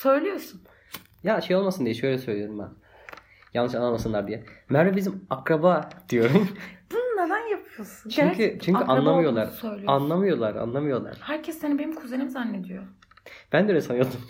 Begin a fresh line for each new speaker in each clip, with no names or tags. Söylüyorsun.
Ya şey olmasın diye şöyle söylüyorum ben. Yanlış anlamasınlar diye. Merve bizim akraba diyorum.
Bunu neden yapıyorsun?
çünkü
Gerçi
çünkü
akraba
anlamıyorlar.
olduğunu söylüyorsun.
Anlamıyorlar, anlamıyorlar.
Herkes seni benim kuzenim zannediyor.
Ben de öyle sanıyordum.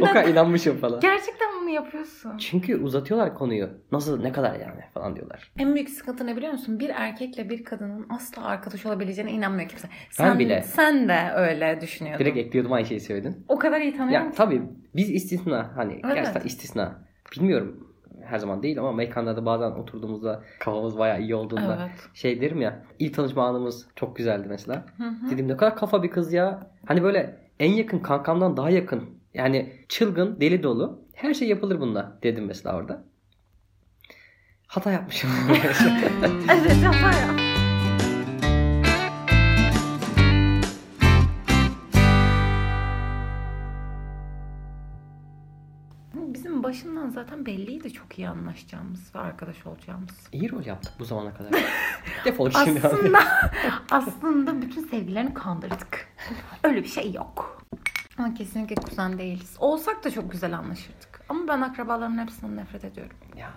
o kadar inanmışım falan.
Gerçekten bunu yapıyorsun.
Çünkü uzatıyorlar konuyu. Nasıl ne kadar yani falan diyorlar.
En büyük sıkıntı ne biliyor musun? Bir erkekle bir kadının asla arkadaş olabileceğine inanmıyor kimse.
Ben bile.
Sen de öyle düşünüyordun.
Direkt ekliyordum aynı şeyi söyledin.
o kadar iyi tanıyorum
Ya
ki.
tabii biz istisna hani
Evet.
gerçekten istisna. Bilmiyorum her zaman değil ama mekanlarda bazen oturduğumuzda kafamız bayağı iyi olduğunda
Evet.
şey derim ya ilk tanışma anımız çok güzeldi mesela.
Hı hı.
Dedim ne kadar kafa bir kız ya. Hani böyle en yakın kankamdan daha yakın. Yani çılgın, deli dolu. Her şey yapılır bununla dedim mesela orada. Hata yapmışım.
Evet ama ya. Bizim başından zaten belliydi çok iyi anlaşacağımız ve arkadaş olacağımız.
İyi rol yaptık bu zamana kadar. Defol şimdi.
Aslında aslında bütün sevgilerini kandırdık. Öyle bir şey yok. Ama kesinlikle kuzen değiliz. Olsak da çok güzel anlaşırdık. Ama ben akrabalarımın hepsinden nefret ediyorum.
Ya,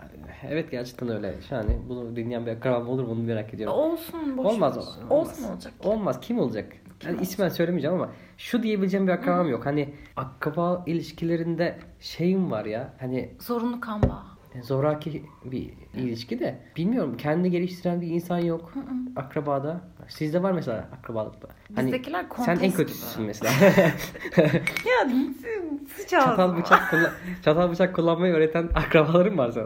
evet gerçekten öyle. Yani bunu dinleyen bir akrabam olur mu onu merak ediyorum.
Olsun boş
Olmaz
ver.
o. Olmaz.
Olsun olacak.
Olmaz. Kim olacak?
Kim
yani
olacak?
ismen söylemeyeceğim ama şu diyebileceğim bir akrabam yok. Hani akraba ilişkilerinde şeyim var ya. Hani
Zorunlu kan bağı.
E, zoraki bir ilişki de. Bilmiyorum. Kendini geliştiren bir insan yok.
Hı hı.
Akrabada. Sizde var mesela akrabalıkta. Hani
Bizdekiler
sen en
kontes
kötüsün
gibi.
mesela.
Ya sıçağı.
çatal bıçak kullan çatal bıçak kullanmayı öğreten akrabaların var sana.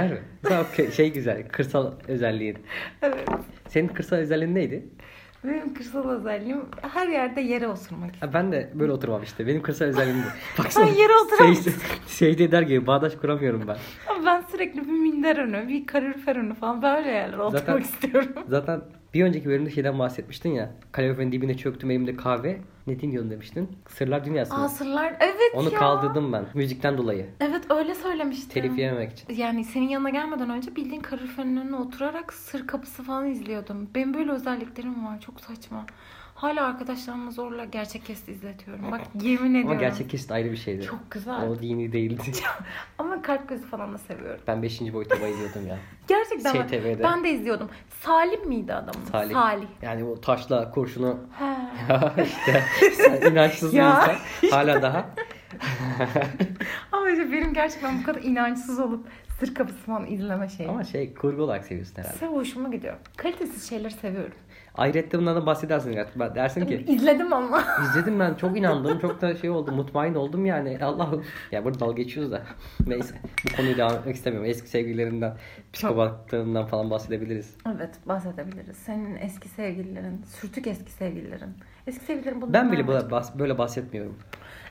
Var mı? Mesela o kö- şey güzel. Kırsal özelliğin.
Evet.
Senin kırsal özelliğin neydi?
Benim kırsal özelliğim her yerde yere osurmak.
Ha, ben de böyle oturmam işte. Benim kırsal özelliğim bu. Baksana. Şey-
Sen yere oturamıyorsun.
Secde, secde eder gibi bağdaş kuramıyorum ben.
Ama ben sürekli bir minder önü, bir kalorifer önü falan böyle yerlere oturmak
Zaten-
istiyorum.
Zaten bir önceki bölümde şeyden bahsetmiştin ya. Kaloriferin dibine çöktüm elimde kahve. Ne dinliyorsun demiştin. Sırlar Dünyası. mı?
Asırlar. Evet
Onu
ya.
kaldırdım ben. Müzikten dolayı.
Evet öyle söylemiştim.
Telif yememek için.
Yani senin yanına gelmeden önce bildiğin kaloriferin önüne oturarak sır kapısı falan izliyordum. Benim böyle özelliklerim var. Çok saçma. Hala arkadaşlarıma zorla gerçek kesti izletiyorum. Bak yemin ediyorum.
Ama gerçek kesit ayrı bir şeydi.
Çok güzel.
O dini değildi.
Ama kalp gözü falan da seviyorum.
Ben 5. boyuta bayılıyordum ya.
Gerçekten ben-
STV'de.
ben de izliyordum. Salim miydi adamın?
Salih. Yani o taşla kurşunu
He.
işte sen inançsız bir
Ya.
insan. Hala daha.
Ama işte benim gerçekten bu kadar inançsız olup sır kapısı falan izleme şeyi.
Ama şey kurgu olarak seviyorsun herhalde.
Size hoşuma gidiyor. Kalitesiz şeyleri seviyorum.
Ayrette bunlardan bahsedersin. artık. Ben- Dersin ki
İzledim ama.
İzledim ben çok inandım çok da şey oldum mutmain oldum yani Allah'ım. Ya burada dalga geçiyoruz da neyse bu konuyu devam etmek istemiyorum. Eski sevgililerinden psikopatlarından falan bahsedebiliriz.
evet bahsedebiliriz. Senin eski sevgililerin, sürtük eski sevgililerin. Eski sevgililerin bunu
Ben bile böyle, bahs- böyle bahsetmiyorum.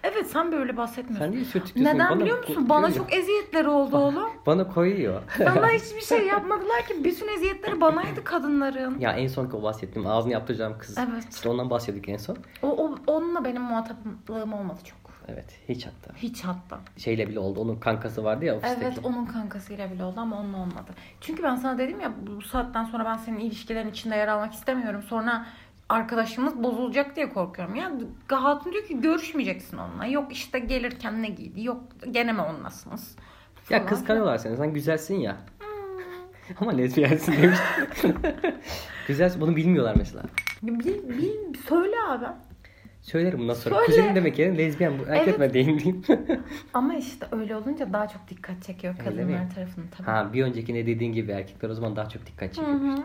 Evet sen böyle bahsetmiyorsun.
Sen niye sürtüklüyorsun?
Neden
Bana
biliyor
ko-
musun? Bana
koyuyor.
çok eziyetleri oldu oğlum.
Bana koyuyor.
Bana hiçbir şey yapmadılar ki. Bütün eziyetleri banaydı kadınların.
ya en son ki o bahsettiğim ağzını yaptıracağım kız.
Evet.
İşte ondan bahsediyorduk en son.
O, o, onunla benim muhataplığım olmadı çok.
Evet hiç hatta.
Hiç hatta.
Şeyle bile oldu onun kankası vardı ya ofisteki.
Evet onun kankasıyla bile oldu ama onunla olmadı. Çünkü ben sana dedim ya bu saatten sonra ben senin ilişkilerin içinde yer almak istemiyorum. Sonra arkadaşımız bozulacak diye korkuyorum. Ya hatun diyor ki görüşmeyeceksin onunla. Yok işte gelirken ne giydi? Yok gene mi onlasınız?
Ya
Falan. Hmm.
kıskanıyorlar seni. Sen güzelsin ya. Ama lezbiyensin demiş. güzelsin. Bunu bilmiyorlar mesela.
Bil, bil, söyle abi.
Söylerim bundan sonra.
Söyle.
Kuzenim demek yerine lezbiyen bu. Erkek
Evet.
mi değil miyim?
Ama işte öyle olunca daha çok dikkat çekiyor
Öyle
kadınlar
mi?
tarafından tabii.
ha bir öncekine dediğin gibi erkekler o zaman daha çok dikkat
Hı
çekiyor.
hı.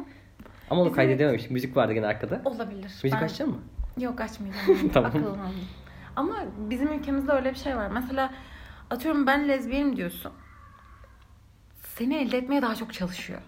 Ama onu
Bizim-
kaydedememiş. Müzik vardı gene arkada.
Olabilir.
Müzik
Ben-
açacak mı?
Yok açmayacağım.
Tamam.
Akıllandım. Ama bizim ülkemizde öyle bir şey var. Mesela atıyorum ben lezbiyenim diyorsun. Seni elde etmeye daha çok çalışıyor.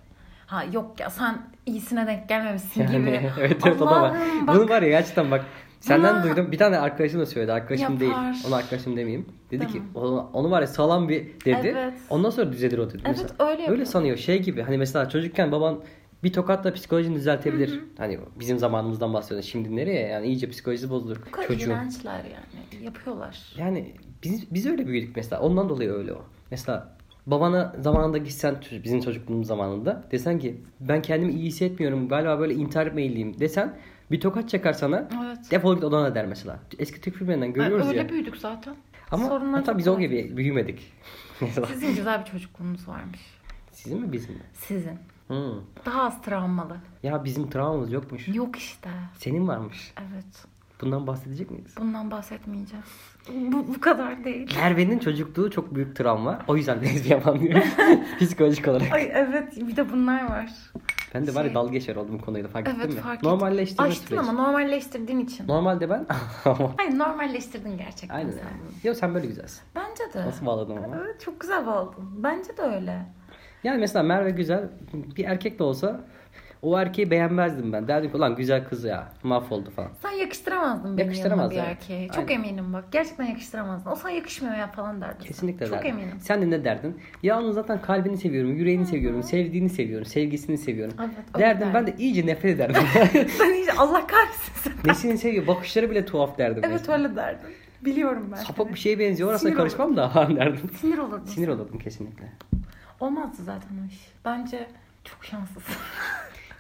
Ha yok ya sen iyisine denk gelmemişsin gibi.
Yani evet evet o da var.
Allah'ım
Bunu var ya gerçekten bak. Senden
Buna-
duydum. Bir tane arkadaşım da söyledi. Arkadaşım
Yapar.
değil. Ona arkadaşım demeyeyim. Dedi ki
Tamam.
onu, onu var ya sağlam bir dedi.
Evet.
Ondan sonra düzelir o dedi.
Evet,
mesela.
öyle yapıyor.
sanıyor. Şey gibi hani mesela çocukken baban bir tokatla psikolojini düzeltebilir. Hani bizim zamanımızdan bahsediyoruz. Şimdi nereye yani iyice psikolojisi bozulur
Bu kadar
çocuğun.
iğrençler yani. Yapıyorlar.
Yani biz biz öyle büyüdük mesela. Ondan dolayı öyle o. Mesela babana zamanında gitsen ço- bizim çocukluğumuz zamanında desen ki ben kendimi iyi hissetmiyorum galiba böyle intihar meyilliyim desen bir tokat çakar sana
Evet.
defol git odana der mesela. Eski Türk filmlerinden görüyoruz
öyle
ya.
büyüdük zaten.
Ama
Sorunlar
hatta
çok
biz o
var.
gibi büyümedik. Mesela
Sizin güzel bir çocukluğunuz varmış.
Sizin mi bizim mi?
Sizin.
Hı.
Daha az travmalı.
Ya bizim travmamız yokmuş.
Yok işte.
Senin varmış.
Evet.
Bundan bahsedecek miyiz?
Bundan bahsetmeyeceğiz. Bu, bu kadar değil.
Merve'nin çocukluğu çok büyük travma. O yüzden lezbiyen falan diyor. Psikolojik olarak.
Ay evet bir de bunlar var.
Ben de var ya
Şey-
dalga geçer oldum bu konuyla fark ettin
Evet
mi?
fark ettim.
Normalleştirme
Açtın
süreci.
ama normalleştirdiğin için.
Normalde ben
Hayır normalleştirdin gerçekten
Aynen.
sen bunu.
Yok sen böyle güzelsin.
Bence de.
Nasıl bağladın ama?
Evet çok güzel bağladın. Bence de öyle.
Yani mesela Merve güzel bir erkek de olsa o erkeği beğenmezdim ben. Derdim ki ulan güzel kız ya mahvoldu falan.
Sen yakıştıramazdın beni yanına
Yakıştıramaz,
bir
evet.
erkeğe. Çok
Aynen.
eminim bak. Gerçekten yakıştıramazdın. O sana yakışmıyor ya falan derdin. sen.
Kesinlikle
Çok
derdim.
eminim.
Sen de ne derdin? Ya onun zaten kalbini seviyorum, yüreğini seviyorum, sevdiğini seviyorum, sevgisini seviyorum.
Evet, öyle
derdim ben de iyice nefret ederdim.
Sen iyice Allah kahretsin sen.
Nesini seviyor, bakışları bile tuhaf derdim.
Evet öyle derdin. Biliyorum ben.
Sapık
seni.
bir şeye benziyor, orasına
Sinir
karışmam da falan derdim.
Sinir olurdun.
Sinir olurdum kesinlikle.
Olmazdı zaten o iş. Bence çok şanslısın.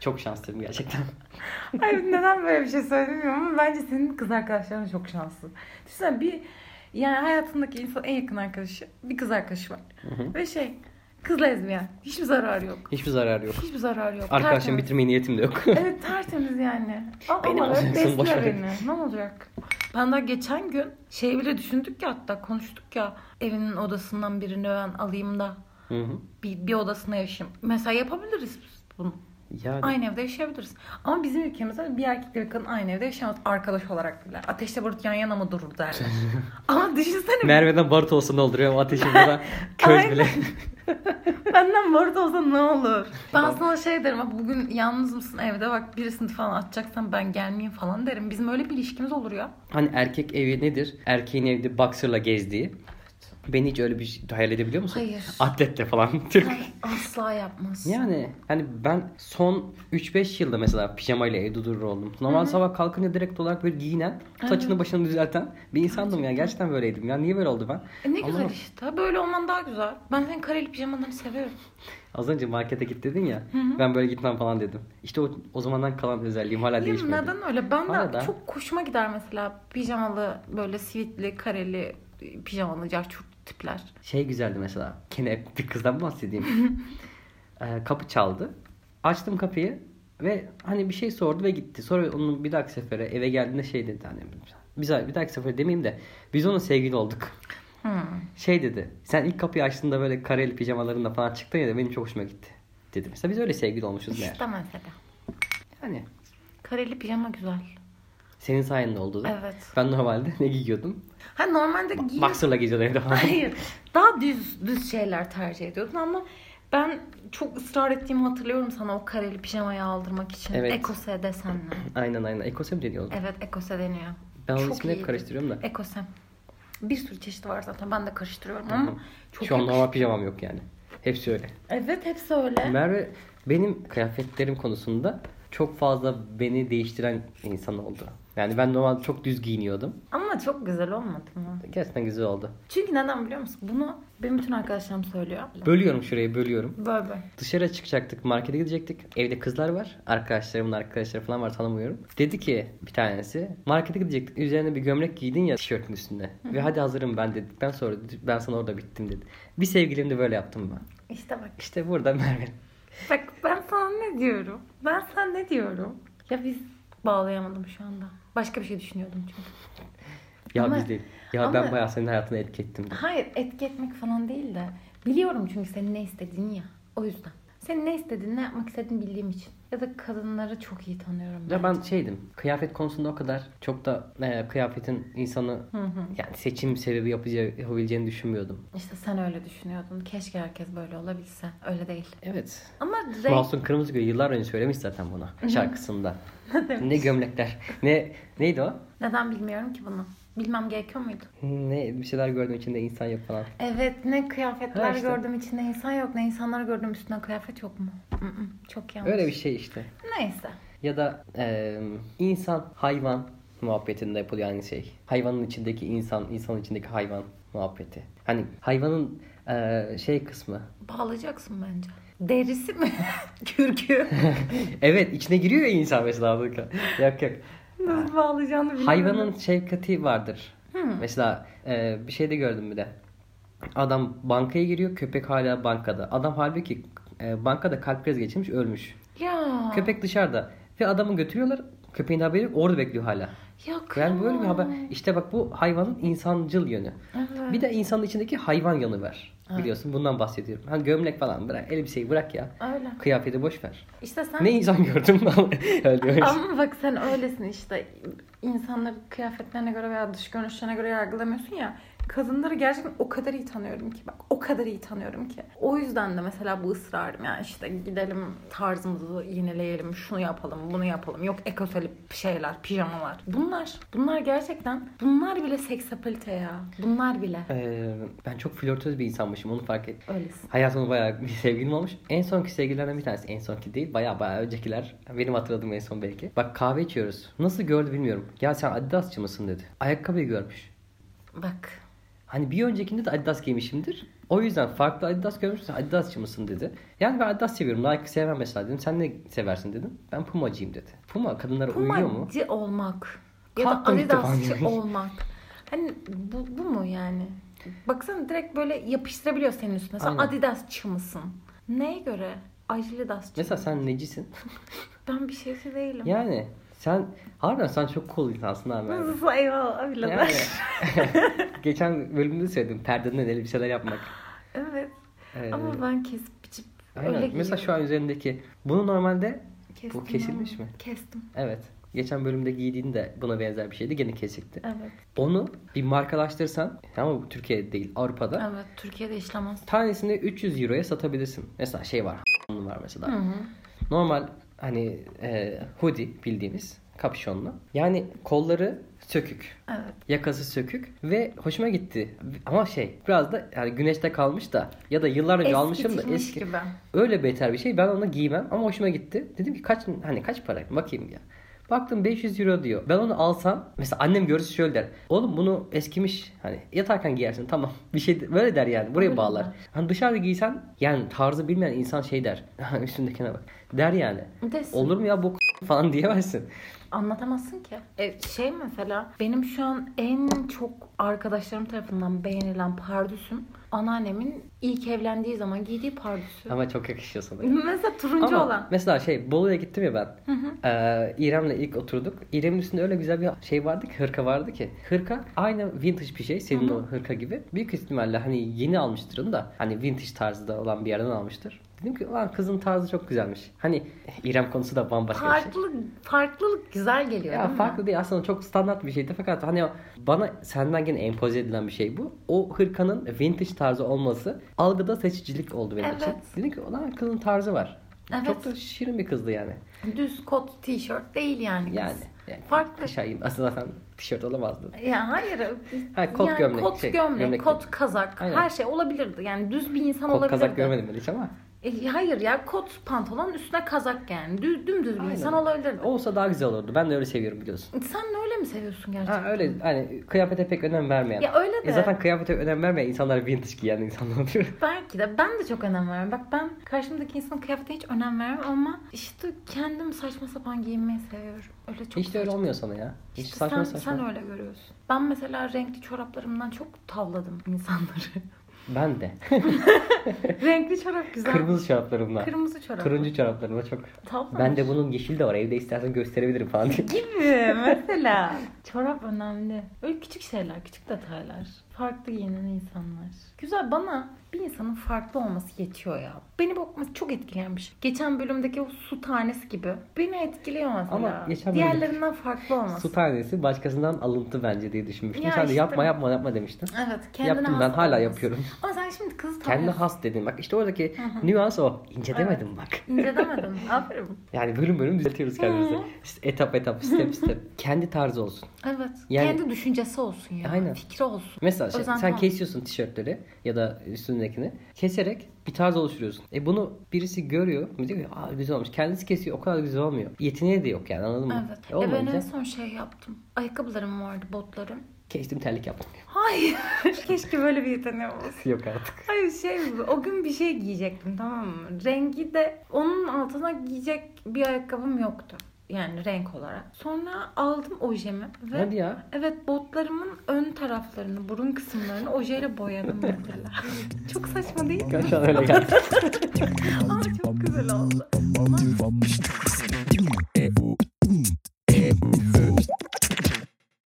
Çok şanslıyım gerçekten.
Hayır neden böyle bir şey söylemiyorum ama bence senin kız arkadaşların çok şanslı. Düşünsene bir yani hayatındaki insan en yakın arkadaşı bir kız arkadaşı var. Ve şey kız lezbiyen. Hiçbir zararı yok.
Hiçbir zararı yok.
Hiçbir zararı yok.
Arkadaşım
Tertemiz.
bitirme niyetim de yok.
Evet tertemiz yani. Ama
Beni
Beni
alacaksın, boş ver.
beni. Ne olacak? Ben daha geçen gün şey bile düşündük ya hatta konuştuk ya evinin odasından birini ben alayım da
Hı hı.
bir, bir odasına yaşayayım. Mesela yapabiliriz biz bunu.
Yani
Aynı evde yaşayabiliriz. Ama bizim ülkemizde bir erkekle bir kadın aynı evde yaşamaz. Arkadaş olarak bile. Ateşte barut yan yana mı durur derler. Ama düşünsene
Merve'den Bart olsa ne olur ya o ateşin burada köz bile.
benden barut olsa ne olur. Ben sana şey derim "Ha, bugün yalnız mısın evde bak birisini falan atacaksan ben gelmeyeyim falan derim. Bizim öyle bir ilişkimiz olur ya.
hani erkek evi nedir? Erkeğin evde boxer'la gezdiği. Beni hiç öyle bir şey hayal edebiliyor musun?
Hayır.
Atletle falan. Türk.
Ay, asla yapmaz.
Yani hani ben son 3-5 yılda mesela pijamayla evde durur oldum. Normal sabah kalkınca direkt olarak böyle giyinen, saçını başını düzelten bir insandım ya. Gerçekten böyleydim ya. Niye böyle oldu ben?
E ne güzel
Allah'ım.
işte. Böyle olman daha güzel. Ben senin kareli pijamanı seviyorum.
Az önce markete git dedin ya. Ben böyle gitmem falan dedim. İşte o, o zamandan kalan özelliğim hala
Değil mi?
değişmedi.
Neden öyle? Ben
Hala da.
de çok hoşuma gider mesela pijamalı böyle sivitli kareli e, pijamalı carçurt tipler.
Şey güzeldi mesela. Gene bir kızdan bahsedeyim. Ee, kapı çaldı. Açtım kapıyı ve hani bir şey sordu ve gitti. Sonra onun bir dahaki sefere eve geldiğinde şey dedi annem. Biz bir dahaki sefere demeyeyim de biz onun sevgili olduk.
Hmm.
Şey dedi. Sen ilk kapıyı açtığında böyle kareli pijamalarında falan çıktın ya da benim çok hoşuma gitti. Dedi. Mesela biz öyle sevgili olmuşuz meğer.
İşte mesela.
Yani
Kareli pijama güzel.
senin sayende oldu da.
Evet.
Ben normalde ne giyiyordum?
Ha normalde giyin-
Boxer'la geziyordum evde falan.
Hayır. Daha düz düz şeyler tercih ediyordun ama ben çok ısrar ettiğimi hatırlıyorum sana o kareli pijamayı aldırmak için.
Evet.
Ekose desenle.
aynen aynen. Ekosem deniyordu.
Evet ekose deniyor.
Ben onun
Çok
ismini hep
iyiydi.
karıştırıyorum da.
Ekosem. Bir sürü çeşidi var zaten. Ben de karıştırıyorum ama çok
Şu an
yakış-
normal pijamam yok yani. Hepsi öyle.
Evet hepsi öyle.
Merve benim kıyafetlerim konusunda çok fazla beni değiştiren insan oldu. Yani ben normal çok düz giyiniyordum.
Ama çok güzel olmadı mı?
Gerçekten güzel oldu.
Çünkü neden biliyor musun? Bunu benim bütün arkadaşlarım söylüyor.
Bölüyorum şurayı bölüyorum.
Böyle böyle.
Dışarı çıkacaktık, markete gidecektik. Evde kızlar var. Arkadaşlarımın arkadaşları falan var tanımıyorum. Dedi ki bir tanesi, markete gidecektik. Üzerine bir gömlek giydin ya tişörtün üstünde. Ve hadi hazırım ben dedikten sonra ben sana orada bittim dedi. Bir sevgilim de böyle yaptım ben.
İşte bak.
İşte burada Merve.
Bak ben sana ne diyorum? Ben sana ne diyorum? Ya biz bağlayamadım şu anda. Başka bir şey düşünüyordum çünkü.
Ya
Ama-
biz değil. Ya
ama-
ben bayağı senin hayatına etki ettim.
Hayır etki etmek falan değil de. Biliyorum çünkü senin ne istediğini ya. O yüzden. Senin ne istediğini, ne yapmak istediğini bildiğim için. Ya da kadınları çok iyi tanıyorum.
Ya ben şeydim. Kıyafet konusunda o kadar çok da e, kıyafetin insanı yani seçim sebebi yapacağı, yapabileceğini düşünmüyordum.
İşte sen öyle düşünüyordun. Keşke herkes böyle olabilse. Öyle değil.
Evet.
Ama renk...
Masum Kırmızıgül yıllar önce söylemiş zaten bunu şarkısında. ne gömlekler. Ne neydi o?
Neden bilmiyorum ki bunu? Bilmem gerekiyor muydu?
Ne bir şeyler gördüğüm içinde insan yok falan.
Evet ne kıyafetler
Ha işte.
gördüm içinde insan yok ne insanlar gördüm üstüne kıyafet yok mu? Mm-mm, çok yanlış.
Öyle bir şey işte.
Neyse.
Ya da e, insan hayvan muhabbetinde yapılıyor aynı şey. Hayvanın içindeki insan, insanın içindeki hayvan muhabbeti. Hani hayvanın e, şey kısmı.
Bağlayacaksın bence. Derisi mi? Kürkü.
Evet içine giriyor ya insan mesela. Yok yok.
Nasıl bağlayacağını bilmiyorum.
Hayvanın şefkati vardır. Mesela e, bir şey de gördüm bir de. Adam bankaya giriyor köpek hala bankada. Adam halbuki e, bankada kalp krizi geçirmiş ölmüş.
Ya.
Köpek dışarıda ve adamı götürüyorlar. Köpeğin haberi yok, orada bekliyor hala.
Ya
Yani böyle bir haber.
kıyamam.
İşte bak bu hayvanın insancıl yönü.
Evet.
Bir de insanın içindeki hayvan yanı var. Biliyorsun bundan bahsediyorum. Hani gömlek falan bırak, elbiseyi bırak ya.
Öyle.
Kıyafeti boş ver.
İşte sen
Ne insan gördüm öyle şey. öyle.
Ama bak sen öylesin işte. İnsanları kıyafetlerine göre veya dış görünüşlerine göre yargılamıyorsun ya. Kadınları gerçekten o kadar iyi tanıyorum ki bak o kadar iyi tanıyorum ki. O yüzden de mesela bu ısrarım yani işte gidelim tarzımızı yenileyelim, şunu yapalım, bunu yapalım. Yok ekoseli şeyler, pijamalar. Bunlar, bunlar gerçekten bunlar bile seksapalite ya. Bunlar bile.
Ee, ben çok flörtöz bir insanmışım onu fark ettim.
Öylesin.
Hayatımda bayağı bir sevgilim olmuş. En sonki sevgililerden bir tanesi. En sonki değil. Bayağı bayağı öncekiler. Benim hatırladığım en son belki. Bak kahve içiyoruz. Nasıl gördü bilmiyorum. Ya sen Adidasçı mısın dedi. Ayakkabıyı görmüş.
Bak.
Hani bir öncekinde de Adidas giymişimdir. O yüzden farklı Adidas görmüşsün Adidasçı mısın dedi. Yani ben Adidas seviyorum. Nike sevmem mesela dedim. Sen ne seversin dedim. Ben Puma'cıyım dedi. Puma kadınlara uyuyor mu?
Pumacı olmak. Ya da
Kalktım ilk defa
Adidasçı
görüyorum.
olmak. Hani bu, bu mu yani? Baksana direkt böyle yapıştırabiliyor senin üstüne. Sen
Aynen.
Adidasçı mısın? Neye göre? Adidasçı.
Mesela sen necisin?
Ben bir şeysi değilim.
yani sen harbiden sen çok cool insansın abi.
Nasıl eyvallah birader.
Yani, geçen bölümde söyledim perdeden elbiseler yapmak.
evet.
Ee,
Ama ben kesip biçip
aynen.
öyle
Mesela şu an
giyiyorum.
üzerindeki bunu normalde
Kestim
bu kesilmiş
ama.
mi?
Kestim.
evet geçen bölümde giydiğin de buna benzer bir şeydi gene kesikti.
Evet.
Onu bir markalaştırsan ama bu Türkiye'de değil Avrupa'da
Evet. Türkiye'de işlemez.
tanesini 300 euroya satabilirsin. Mesela şey var var mesela.
Hı hı.
Normal hani e, hoodie bildiğimiz kapşonlu. Yani kolları sökük.
Evet.
Yakası sökük ve hoşuma gitti. Ama şey biraz da yani güneşte kalmış da ya da yıllar önce almışım da
Eskitilmiş
eski.
gibi.
Öyle beter bir şey. Ben onu giymem ama hoşuma gitti. Dedim ki kaç hani kaç para bakayım ya. Baktım 500 euro diyor. Ben onu alsam mesela annem görürse şöyle der. Oğlum bunu eskimiş hani yatarken giyersin tamam. Bir şey de- böyle der yani. Buraya
Öyle
bağlar.
mi?
Hani dışarıda giysen yani tarzı bilmeyen insan şey der. Üstündekine bak. Der yani.
Desin.
Olur mu ya bu falan diyemezsin.
Anlatamazsın ki. E, şey mesela benim şu an en çok arkadaşlarım tarafından beğenilen pardüsüm anneannemin ilk evlendiği zaman giydiği pardüsü.
Ama çok yakışıyor sana.
Mesela turuncu
Ama
olan.
mesela şey Bolu'ya gittim ya ben. Ee, İrem'le ilk oturduk. İrem'in üstünde öyle güzel bir şey vardı ki hırka vardı ki. Hırka aynı vintage bir şey. Senin o hırka gibi. Büyük ihtimalle hani yeni almıştır onu da. Hani vintage tarzda olan bir yerden almıştır. Dedim ki lan kızın tarzı çok güzelmiş. Hani İrem konusu da bambaşka bir şey.
Farklı, farklılık güzel geliyor
Ya
değil mi?
farklı değil aslında çok standart bir şeydi fakat hani bana senden gene empoze edilen bir şey bu. O hırkanın vintage tarzı olması algıda seçicilik oldu benim için.
Evet.
Dedim ki ulan kızın tarzı var.
Evet.
Çok da şirin bir kızdı yani.
Düz kot, tişört değil yani. kız.
Yani. yani
Farklı.
Aşağıyım. Aslında zaten tişört olamazdı.
Ya hayır.
Ha, kot
yani
gömlek,
Kot
şey,
gömlek,
gömlek
kot kazak.
Aynen.
Her şey olabilirdi. Yani düz bir insan
Kot
olabilirdi.
kazak görmedim ben hiç ama.
E, hayır ya kot pantolon üstüne kazak yani. Düz, dümdüz bir
Aynen.
insan olabilirdi.
Olsa daha güzel olurdu. Ben de öyle seviyorum biliyorsun.
Sen öyle mi seviyorsun gerçekten?
Ha öyle hani kıyafete pek önem vermeyen.
Ya öyle de.
E zaten kıyafete önem vermeyen insanlar vintage giyen insanlar oluyor.
Belki de ben de çok önem veririm. Bak ben karşımdaki insanın kıyafetine hiç önem vermem ama işte kendim saçma sapan giyinmeyi seviyorum. Öyle çok
hiç de öyle
saçma.
olmuyor sana ya. Hiç
İşte
saçma
sen,
saçma.
sen öyle görüyorsun. Ben mesela renkli çoraplarımdan çok tavladım insanları.
Ben de.
renkli çorap güzel.
Kırmızı çoraplarımla.
Kırmızı çorap.
Turuncu çoraplarımla çok.
Tavlamış.
Ben de bunun yeşil de var. Evde istersen gösterebilirim falan diye.
Gibi mesela. Çorap önemli. Öyle küçük şeyler, küçük detaylar. Farklı giyinen insanlar. Güzel bana bir insanın farklı olması yetiyor ya. Beni bakması çok etkilenmiş. Geçen bölümdeki o su tanesi gibi. Beni etkiliyor mesela.
Ama geçen bölüm-
Diğerlerinden farklı olması.
Su tanesi başkasından alıntı bence diye düşünmüştüm.
Ya
sen de
işte.
yapma yapma yapma demiştin.
Evet. Kendine
Yaptım
has
ben, hala
olması.
yapıyorum.
Ama sen şimdi kızı
Kendi
tanıyorsun.
has dedin. Bak işte oradaki nüans o. İnce demedim bak.
İnce demedin. Aferin.
Yani bölüm bölüm düzeltiyoruz kendimizi.
Hı.
İşte etap etap, step step. Kendi tarzı olsun.
Evet.
Yani-
Kendi düşüncesi olsun ya.
Aynen.
Fikri olsun.
Mesela şey,
Özenti
sen
olsun.
kesiyorsun tişörtleri ya da üstündekini. Keserek bir tarz oluşturuyorsun. E bunu birisi görüyor. Diyor ki Aa, güzel olmuş. Kendisi kesiyor. O kadar güzel olmuyor. Yeteneği de yok yani anladın mı?
Evet.
E,
E ben
olmayınca
en son şey yaptım. Ayakkabılarım vardı, botlarım.
kestim terlik yaptım.
Hayır. Keşke böyle bir yeteneğim olsun.
yok artık.
Hayır şey bu, o gün bir şey giyecektim tamam mı? Rengi de onun altına giyecek bir ayakkabım yoktu. Yani renk olarak. Sonra aldım ojemi ve
Hadi ya.
evet botlarımın ön taraflarını, burun kısımlarını ojeyle boyadım mesela. çok saçma değil mi?
Şu an öyle geldi.
Ama çok güzel oldu.
Bum, bum, bum, bum.